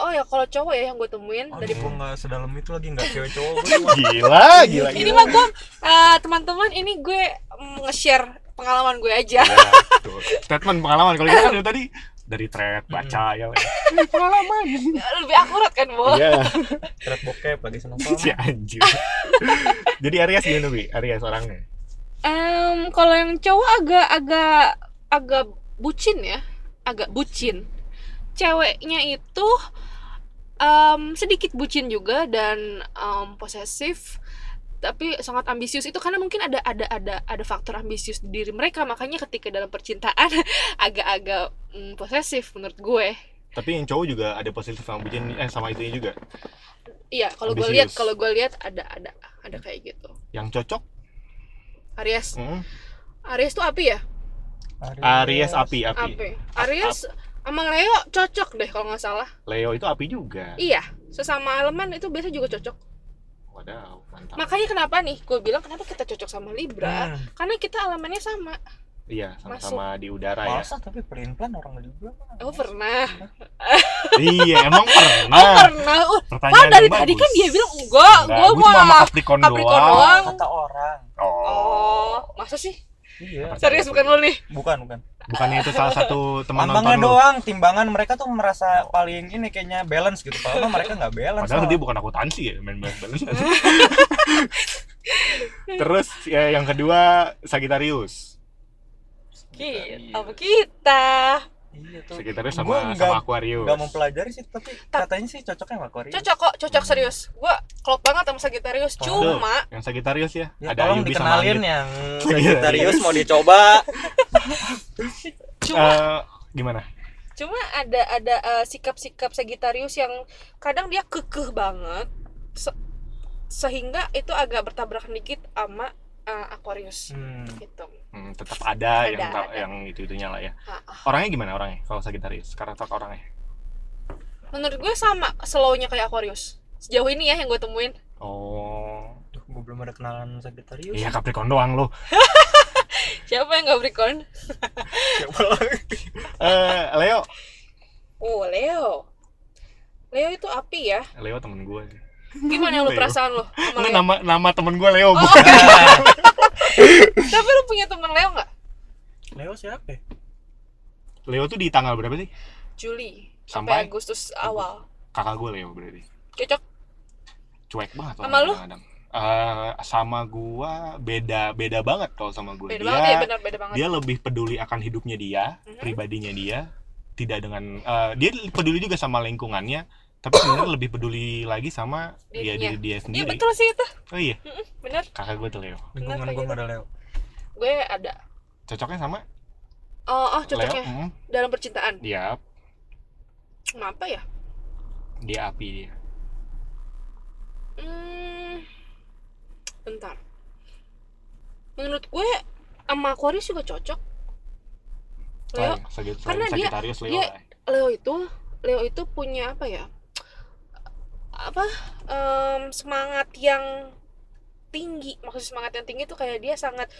S1: oh ya kalau cowok ya yang gue temuin
S3: Aduh,
S1: dari
S3: gue nggak sedalam itu lagi nggak cewek cowok
S2: gila gila
S1: ini
S2: gila
S1: mah gue eh, teman-teman ini gue mm, nge-share pengalaman gue aja
S2: Ya, tuh. statement pengalaman kalau kita kan dari tadi dari thread baca ya Ini pengalaman
S1: lebih akurat kan bu
S2: iya
S3: Terus bokep lagi sama
S2: si
S3: sama
S2: anjir jadi Aries gimana bi Aries orangnya
S1: Em, kalau yang cowok agak agak agak bucin ya agak bucin ceweknya itu em, sedikit bucin juga dan em, posesif tapi sangat ambisius itu karena mungkin ada ada ada ada faktor ambisius di diri mereka makanya ketika dalam percintaan agak-agak mm, posesif menurut gue
S2: tapi yang cowok juga ada positif sama bucin eh sama itunya juga
S1: iya kalau gue
S2: Ambisius.
S1: lihat kalau gue lihat ada ada ada kayak gitu
S2: yang cocok
S1: Aries
S2: mm,
S1: Aries tuh api ya
S2: Aries api api
S1: api Aries sama Leo cocok deh kalau nggak salah
S2: Leo itu api juga
S1: Iya, sesama elemen itu biasa juga cocok.
S2: waduh mantap
S1: Makanya kenapa nih? Gue bilang kenapa kita cocok sama Libra?
S3: Hmm,
S1: Karena kita elemennya sama.
S2: iya sama-sama di udara ya
S3: masa tapi pelin pelan orang juga
S1: Oh pernah,
S2: iya
S1: Oh,
S2: emang pernah
S1: pernah. Uh,
S2: pertanyaan
S1: dari
S2: yang
S1: tadi
S2: bagus.
S1: kan dia bilang enggak,
S2: Enggak,
S1: gue
S2: cuma sama
S1: mah.
S2: Capricorn,
S1: Capricorn
S2: doang.
S1: doang.
S3: kata orang
S2: oh
S1: Oh, masa sih?
S3: iya
S1: Serius bukan lo nih?
S3: bukan bukan
S2: bukannya itu salah satu teman
S3: lambangnya
S2: nonton lu
S3: doang timbangan mereka tuh merasa paling ini kayaknya balance gitu padahal mah mereka nggak balance
S2: padahal
S3: malah.
S2: dia bukan akuntansi ya main balance terus ya, yang kedua Sagittarius Iya.
S1: Kita, apa kita?
S3: iya tuh
S2: Sagittarius
S3: Gua
S2: sama
S3: nggak-
S2: sama Aquarius
S3: nggak mempelajari sih tapi katanya sih cocoknya sama Korea
S1: Cocok kok, cocok serius. Gue klop banget sama Sagittarius.
S2: Aduh.
S1: Cuma
S2: yang Sagittarius ya,
S3: ya,
S2: ada
S3: tolong
S2: Ayubi sama
S3: dikenalin
S2: Anggit. Iya.
S3: yang
S2: Sagittarius
S3: Sagittarius mau dicoba
S1: cuma
S2: Eh, gimana
S1: cuma ada ada eh, sikap-sikap Sagittarius yang kadang dia kekeh banget se- sehingga itu agak bertabrakan dikit sama eh, Aquarius
S3: hmm.
S1: gitu.
S2: Hmm, tetap
S1: Ada,
S2: ada, yang ta-
S1: ada.
S2: yang itu itunya lah ya.
S1: Ah,
S2: Orangnya gimana orangnya kalau Sagittarius? Karakter orangnya?
S1: Menurut gue sama slownya kayak Aquarius. Sejauh ini ya yang gue temuin.
S2: Oh,
S3: Duh, gue belum ada kenalan Sagittarius
S2: iya Capricorn doang lo.
S1: Siapa yang gak Capricorn?
S3: Siapa lagi?
S2: Eh, Leo,
S1: Oh, Leo. Leo itu api ya.
S2: Leo temen gue. sih.
S1: Gimana lu
S2: Leo.
S1: perasaan lu sama
S2: Ini
S1: Leo?
S2: nama nama temen gue
S1: Oh,
S2: Leo. bukan.
S1: oke. Tapi lu punya temen Leo nggak?
S3: Leo siapa ya?
S2: Leo tuh di tanggal berapa sih?
S1: Juli sampai
S2: Sampai?
S1: Agustus awal.
S2: Kakak gue Leo berarti.
S1: Cocok.
S2: Cuek banget.
S1: Sama
S2: orangnya
S1: lu?
S2: kadang-kadang. Eh, sama gue beda beda banget kalau sama gue.
S1: Beda
S2: Dia
S1: banget ya, benar beda banget.
S2: Iya. dia lebih peduli akan hidupnya dia,
S1: Mhm.
S2: pribadinya dia, tidak dengan eh, dia peduli juga sama lingkungannya, tapi sebenarnya lebih peduli lagi sama dia
S1: Dirinya.
S2: diri dia
S1: Iya
S2: sendiri.
S1: betul sih itu.
S2: Oh iya,
S1: Bener.
S2: kakak gue tuh Leo.
S3: Lingkungan
S1: Kenapa
S3: gue
S1: gitu?
S3: gak ada Leo
S1: gue ada
S2: Cocoknya sama
S1: oh, oh
S2: Leo.
S1: cocoknya
S2: mm,
S1: dalam percintaan
S2: dia
S1: Cuma apa ya
S2: dia api dia.
S1: hmm, bentar menurut gue sama Aquarius juga cocok
S2: Oh,
S1: Leo
S2: iya, Sagit-
S1: Karena dia-
S2: Sagittarius Leo.
S1: dia-
S2: lah.
S1: Leo itu Leo itu punya apa ya? Apa em, semangat yang tinggi. Maksud semangat yang tinggi itu kayak dia sangat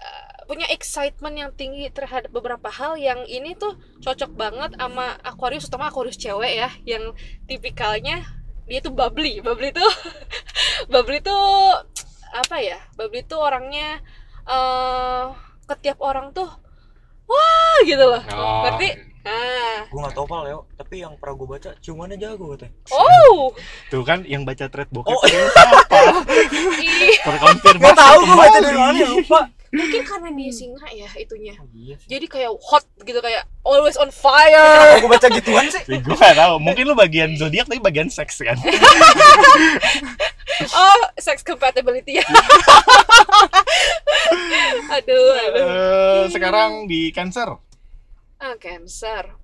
S1: eh, punya excitement yang tinggi terhadap beberapa hal yang ini tuh cocok banget sama Aquarius terutama Aquarius cewek ya yang tipikalnya dia tuh bubbly. Bubbly tuh bubbly tuh apa ya? Bubbly tuh orangnya eh ke tiap orang tuh wah gitu loh.
S2: Oh.
S1: Ngerti? Ah.
S3: gue nggak tau pal Leo tapi yang pernah gue baca ciumannya jago katanya
S1: Oh,
S2: Tuh kan yang baca thread bokep
S3: Oh,
S2: itu apa?
S1: ih,
S2: Terkonfirmasi.
S3: nggak tahu gue baca dari mana ya, lupa
S1: mungkin karena dia singa ya itunya.
S3: oh, iya sih
S1: Jadi kayak hot gitu kayak always on fire.
S3: gue baca gituan sih
S2: Gue gak Eh, tahu. Mungkin lu bagian zodiak tapi bagian seks kan.
S1: Iya. Oh, sex compatibility ya. aduh, aduh.
S2: Eh, sekarang di Cancer.
S1: Ah, cancer.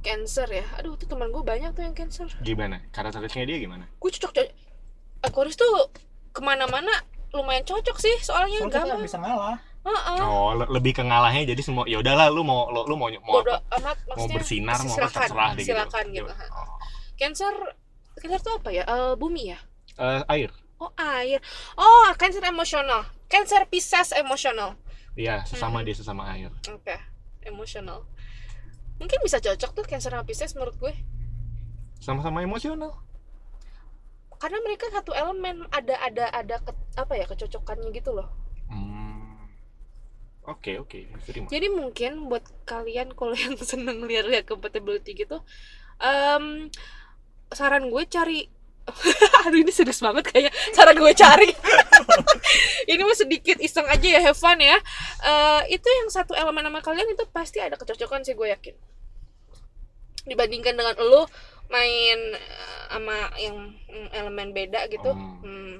S1: Cancer ya. Aduh, tuh teman gue banyak tuh yang cancer.
S2: Gimana? Karakteristiknya dia gimana?
S1: Gue cocok cocok. Aquarius tuh kemana-mana lumayan cocok sih soalnya
S3: soalnya kita nggak
S1: gampang.
S3: bisa ngalah
S1: Heeh.
S2: Oh, le- lebih ke ngalahnya jadi semua ya udahlah lu mau lu, lu mau mau
S1: Bodoh amat
S2: mau
S1: maksudnya.
S2: bersinar mau apa
S1: silakan,
S2: terserah deh gitu.
S1: silakan gitu. ha.
S2: Oh.
S1: Cancer Cancer tuh apa ya? Eh, bumi ya?
S2: Eh, air.
S1: Oh air. Oh cancer emosional. Cancer Pisces emosional.
S2: Iya, sesama
S1: Hmm.
S2: dia sesama air.
S1: Oke, emosional. Mungkin bisa cocok tuh cancer sama Pisces menurut gue.
S2: Sama-sama emosional.
S1: Karena mereka satu elemen ada ada ada ke- apa ya kecocokannya gitu loh.
S2: Hmm. Oke, oke. Terima.
S1: Jadi mungkin buat kalian kalau yang seneng lihat-lihat compatibility gitu, em, saran gue cari. Aduh ini serius banget kayak saran gue cari. ini mah sedikit iseng aja ya have fun ya. Eh, itu yang satu elemen sama kalian itu pasti ada kecocokan sih gue yakin. Dibandingkan dengan lo main eh, sama yang mm, elemen beda gitu.
S2: Hmm.
S1: Hmm.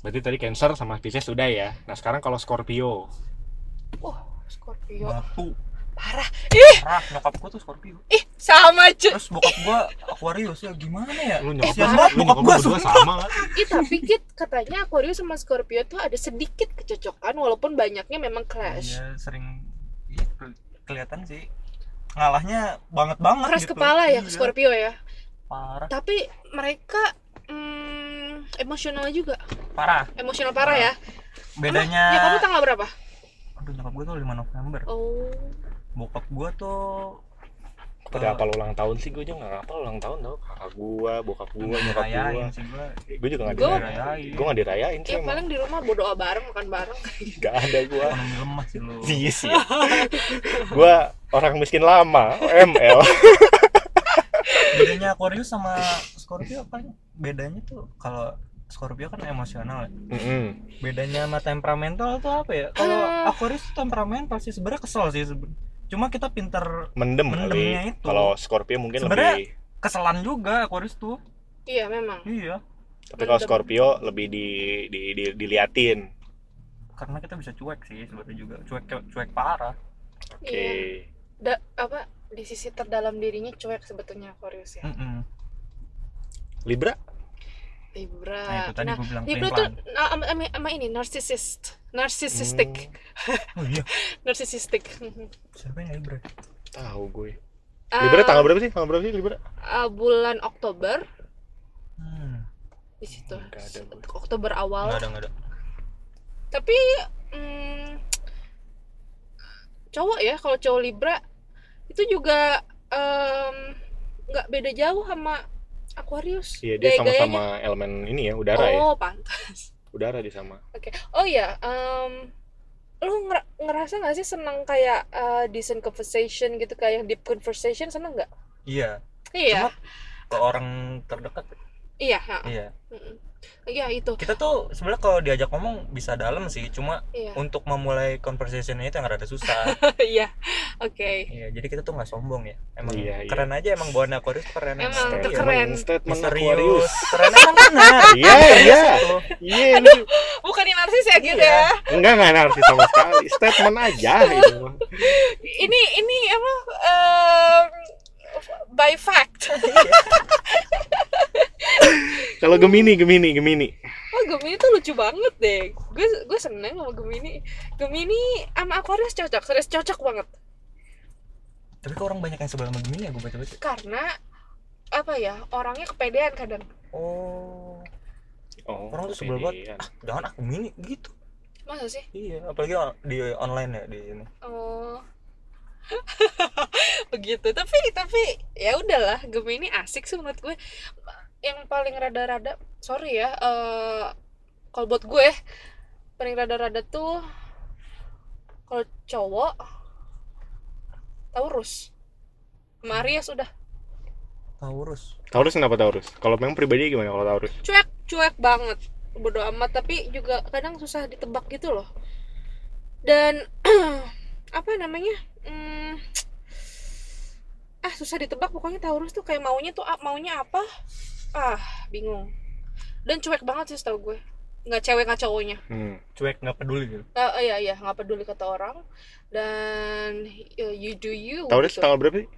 S2: Berarti tadi Cancer sama Pisces sudah ya. Nah, sekarang kalau Scorpio.
S1: Scorpio.
S3: batu
S1: Parah.
S3: parah nyokap gue tuh Scorpio
S1: Ih, sama cuy.
S3: terus bokap gue Aquarius ya gimana ya
S1: Eh,
S2: Lu
S3: Kasihan
S2: nyokap,
S3: banget
S2: lu nyokap
S3: bokap gue
S2: berdua
S3: sumpah
S2: sama kan?
S1: Ih, tapi Kit, katanya Aquarius sama Scorpio tuh ada sedikit kecocokan walaupun banyaknya memang clash.
S3: Iya, sering iya, ke- kelihatan sih ngalahnya banget banget
S1: Keras
S3: gitu.
S1: kepala ya
S3: Iya,
S1: ke Scorpio ya.
S3: parah
S1: Tapi mereka mm, emosional juga.
S3: parah
S1: Emosional parah ya.
S3: Ah, bedanya
S1: Ya kamu tanggal berapa?
S3: aduh nyokap gue tuh 5 November
S1: Oh.
S3: bokap gue tuh
S2: Pada apa ulang tahun sih gue juga nggak apa ulang tahun tau kakak gue, bokap gue, nyokap gue.
S3: rayain sih gue
S2: Gue juga nggak
S1: Gua-
S2: dirayain. Gue nggak dirayain sih
S1: Ya
S2: emang.
S1: paling di rumah berdoa bareng, makan bareng.
S2: Gak ada gue.
S3: ekonomi lemah sih lu
S2: Iya sih. gue orang miskin lama, ML.
S3: bedanya Aquarius sama Scorpio apa bedanya tuh kalau Scorpio kan emosional ya. bedanya sama temperamental tuh apa ya kalau
S1: Ah.
S3: Aquarius tuh temperamen pasti sebenarnya kesel sih seben- cuma kita pinter
S2: Mendem kali.
S3: Mendemnya itu.
S2: Kalau Scorpio mungkin
S3: Sebenarnya-
S2: lebih.
S3: keselan juga Aquarius tuh
S1: Iya, memang.
S3: iya
S2: Tapi kalau
S1: mendem.
S2: Scorpio lebih di, di, di diliatin.
S3: karena kita bisa cuek sih sebenarnya juga cuek cuek, cuek parah
S2: Oke.
S1: Iya. Da- apa di sisi terdalam dirinya cuek sebetulnya Aquarius ya.
S3: Mm-mm.
S2: Libra?
S1: Libra.
S3: nah itu tadi
S1: Nah,
S3: gue bilang
S1: Libra
S3: pelin
S1: tuh nah, ama, ama- ama ini narcissist, narcissistic,
S2: Hmm,
S3: oh iya
S1: narcissistic.
S3: siapa ya, yang Libra
S2: tahu gue.
S1: Ah,
S2: Libra tanggal berapa sih? Tanggal berapa sih Libra?
S1: ah, bulan Oktober
S3: hmm.
S1: di situ
S2: Hmm, Nggak ada gue.
S1: Oktober
S3: nggak
S1: awal
S3: ada nggak ada
S1: tapi mm, cowok ya kalau cowok Libra itu juga em, nggak beda jauh sama Aquarius
S2: Iya, dia
S1: gaya-gayanya.
S2: sama-sama elemen ini ya, udara ya.
S1: oh pantas
S2: Udara dia sama.
S1: oh ya em, lu nger- ngerasa nggak sih seneng kayak eh, decent conversation gitu kayak yang deep conversation seneng nggak
S3: iya
S1: iya
S3: Cuma- ke orang terdekat
S1: iya ha.
S3: iya
S1: Mm-mm. iya itu
S3: kita tuh sebenarnya kalau diajak ngomong bisa dalam sih cuma
S1: iya
S3: untuk memulai conversationnya itu yang rada susah
S1: iya oke
S3: iya jadi kita tuh nggak sombong ya emang
S2: Iya, iya.
S3: keren aja emang bawaan Aquarius tuh keren
S1: Emang
S3: Iya.
S1: tuh Ah, keren.
S2: Statement
S3: misterius
S2: Aquarius.
S3: keren emang benar
S2: Iya, iya.
S3: Tuh.
S2: Iya, lu-
S1: bukan yang narsis ya gitu
S3: Iya.
S1: ya
S2: enggak enggak narsis sama sekali. Statement aja itu. mah.
S1: ini ini apa em, by fact
S3: Iya.
S2: Kalau Gemini, Gemini, Gemini.
S1: oh Gemini tuh lucu banget deh gue gue seneng sama Gemini Gemini sama Aquarius cocok serius cocok banget
S3: tapi kok orang banyak yang sebel sama Gemini ya gue baca-baca
S1: karena apa ya orangnya kepedean kadang
S3: oh
S2: Oh,
S3: Orang tuh sebel banget. jangan aku Gemini gitu
S1: masa sih
S3: iya apalagi on- di online ya di ini
S1: oh begitu tapi tapi ya udahlah Gemini asik sih menurut gue yang paling rada-rada sorry ya eh kalau buat gue paling rada-rada tuh kalau cowok Taurus Maria sudah
S3: Taurus
S2: Taurus kenapa Taurus? Kalau memang pribadi gimana kalau Taurus?
S1: cuek cuek banget bodo amat tapi juga kadang susah ditebak gitu loh dan apa namanya Hmm, ah susah ditebak pokoknya Taurus tuh kayak maunya tuh ap- maunya apa ah bingung dan cuek banget sih tau gue nggak cewek nggak cowoknya
S2: Hmm.
S3: cuek nggak peduli gitu
S1: nggak iya iya nggak peduli kata orang dan eh, you do you
S2: Taurus
S1: gitu.
S2: tanggal berapa sih?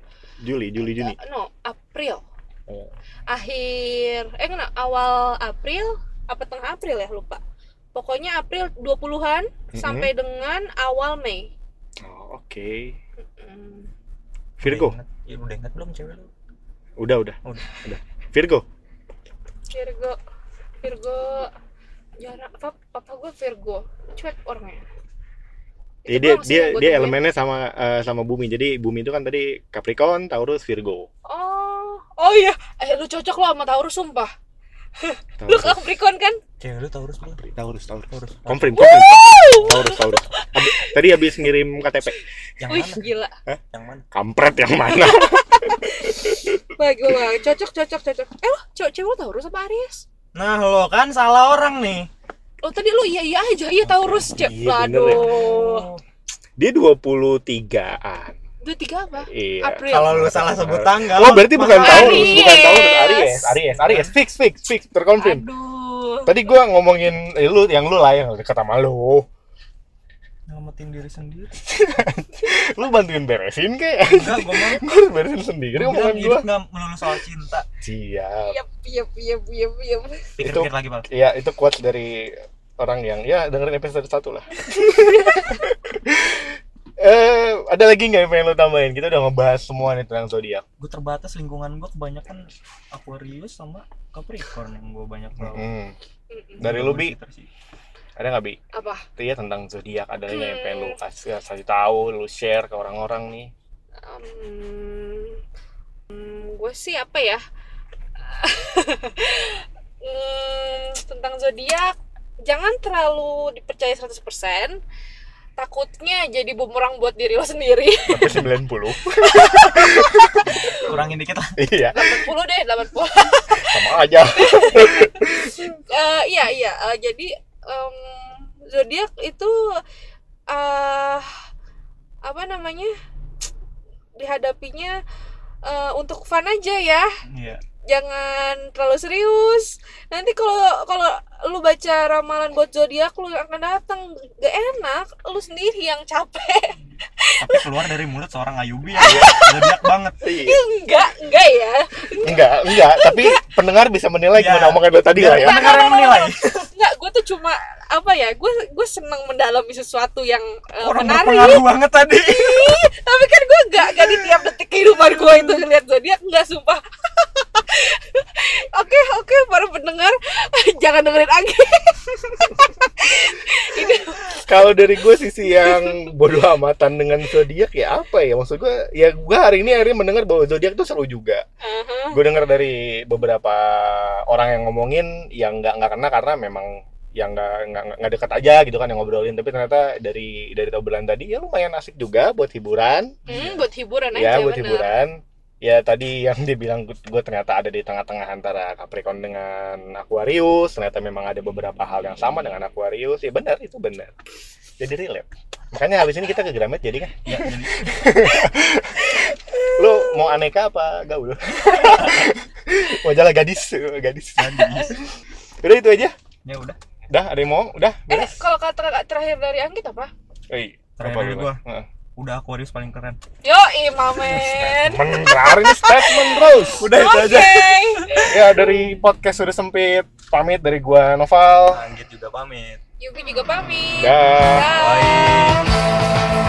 S2: Juli, Juli, Juni.
S1: no April
S3: Oh.
S1: akhir eh enggak awal April apa tengah April ya lupa pokoknya April 20-an sampai dengan awal Mei
S2: Oh, oke.
S1: Mm.
S2: Virgo.
S3: Udah ingat- ya, udah ingat belum cewek lu
S2: Udah, udah.
S1: Oh,
S3: Udah.
S2: Udah. Virgo.
S1: Virgo Virgo jarang apa papa gue Virgo cuek orangnya Itu
S2: Jadi Iya, dia
S1: doang sih
S2: dia
S1: yang gua
S2: dia
S1: temuin.
S2: elemennya sama eh, sama bumi. Jadi bumi itu kan tadi Capricorn, Taurus, Virgo.
S1: oh oh iya eh lu cocok lo sama Taurus sumpah lu
S2: Taurus.
S1: Capricorn kan
S3: cewek lu Taurus belum
S2: Taurus, Taurus.
S3: Taurus
S2: Confirm, confirm. Taurus, Taurus. Ab- tadi habis ngirim KTP.
S3: yang
S2: Nah,
S1: wih
S3: mana
S1: gila
S3: yang mana
S2: Kampret yang mana?
S1: baik gue baik. cocok cocok cocok eh lo cewek cewek lo Taurus apa Aries
S3: nah lo kan salah orang nih
S1: Oh tadi lu iya iya aja iya Taurus cek.
S2: Iya, bener ya.
S1: Waduh.
S3: Oh.
S2: Dia 23-an.
S1: Dua tiga apa?
S2: Iya.
S1: April.
S3: kalau lu salah sebut tanggal
S2: Oh, berarti bukan
S3: maka-
S2: Taurus, bukan
S1: Aries.
S2: Taurus, Aries, Aries, Aries, fix, fix, fix, terkonfirm.
S1: Aduh.
S2: Tadi gua ngomongin eh, lu yang lu lah yang deket sama lu.
S3: nyelamatin diri sendiri
S2: Lu bantuin beresin kek.
S3: enggak gue mau
S2: Gua harus beresin sendiri
S3: bilang
S2: omongan
S1: gitu.
S3: hidup
S2: gua.
S3: nggak melulu soal cinta
S2: Siap.
S1: Yap yap yap yap yap.
S3: pikir-pikir lagi pak
S2: Iya, itu quotes dari orang yang ya dengerin episode satu lah. eh, ada lagi nggak yang pengen lo tambahin? Kita udah ngebahas semua nih tentang zodiak.
S3: gue terbatas lingkungan gue kebanyakan Aquarius sama Capricorn yang gue banyak tahu
S2: Mm-mm.
S1: Mm-mm.
S2: Dari lu, Bi?
S3: Twitter sih.
S2: Hmm. Ada nggak bi?
S1: Apa?
S2: Iya tentang zodiak. Ada lagi nggak yang pengen lo
S1: Hmm.
S2: kasih kasih tahu, lo share ke orang-orang nih.
S1: Um, gue sih apa ya? Hmm, tentang zodiak jangan terlalu dipercaya 100% takutnya jadi bumerang buat diri lo sendiri
S2: Tapi 90
S3: kurangin dikit lah
S2: Iya,
S1: 80 deh 80
S2: sama aja.
S1: Eh, iya iya Eh, jadi em, zodiak itu eh apa namanya dihadapinya eh, untuk fun aja ya
S3: iya
S1: jangan terlalu serius nanti kalau kalau lu baca ramalan buat zodiak lu yang akan datang gak enak lu sendiri yang capek
S3: tapi keluar dari mulut seorang Ayubi ya zodiak banget
S2: Iya.
S1: enggak enggak ya
S2: Enggak, enggak. Tapi pendengar bisa menilai
S3: Iya.
S2: gimana omongan lo tadi lah
S3: Biar
S2: ya.
S3: pendengar yang menilai
S1: enggak gue tuh cuma apa ya gue gue seneng mendalami sesuatu yang eh,
S3: orang
S1: menarik
S3: berpengaruh banget tadi
S1: tapi kan gue gak, gak di tiap detik kehidupan gue itu ngeliat zodiak nggak sumpah oke oke para pendengar jangan dengerin lagi
S2: Kalau dari gue sisi yang bodoh amatan dengan zodiak ya apa ya? Maksud gue ya gue hari ini akhirnya mendengar bahwa zodiak itu seru juga.
S1: Uh-huh.
S2: Gue dengar dari beberapa orang yang ngomongin yang nggak nggak kena karena memang yang nggak nggak nggak- nggak dekat aja gitu kan yang ngobrolin tapi ternyata dari dari obrolan tadi ya lumayan asik juga buat hiburan
S1: hmm, buat hiburan aja
S2: ya buat
S1: bener.
S2: hiburan ya tadi yang dibilang gue ternyata ada di tengah-tengah antara Capricorn dengan Aquarius ternyata memang ada beberapa hal yang sama dengan Aquarius ya benar itu benar jadi relate makanya habis ini kita ke Gramet jadi kan
S3: ya jadi
S2: lu mau aneka apa gaul mau jalan gadis gadis
S3: gadis.
S2: udah itu aja
S3: ya udah
S2: udah ada yang mau udah
S1: eh
S2: beres
S1: kalau kata kakak terakhir dari Anggit apa
S2: Oi,
S3: Terakhir
S2: apa
S3: dari
S2: lu?
S3: gua.
S2: Heeh.
S3: udah Aquarius paling keren
S1: yo imamen
S2: Men, terakhir ini statement terus
S3: udah itu
S1: oke
S3: aja
S2: ya dari podcast sudah sempit pamit dari gua
S3: Nah,
S2: Noval
S3: Anggit juga pamit
S1: Yuki juga pamit
S2: dah
S1: Bye.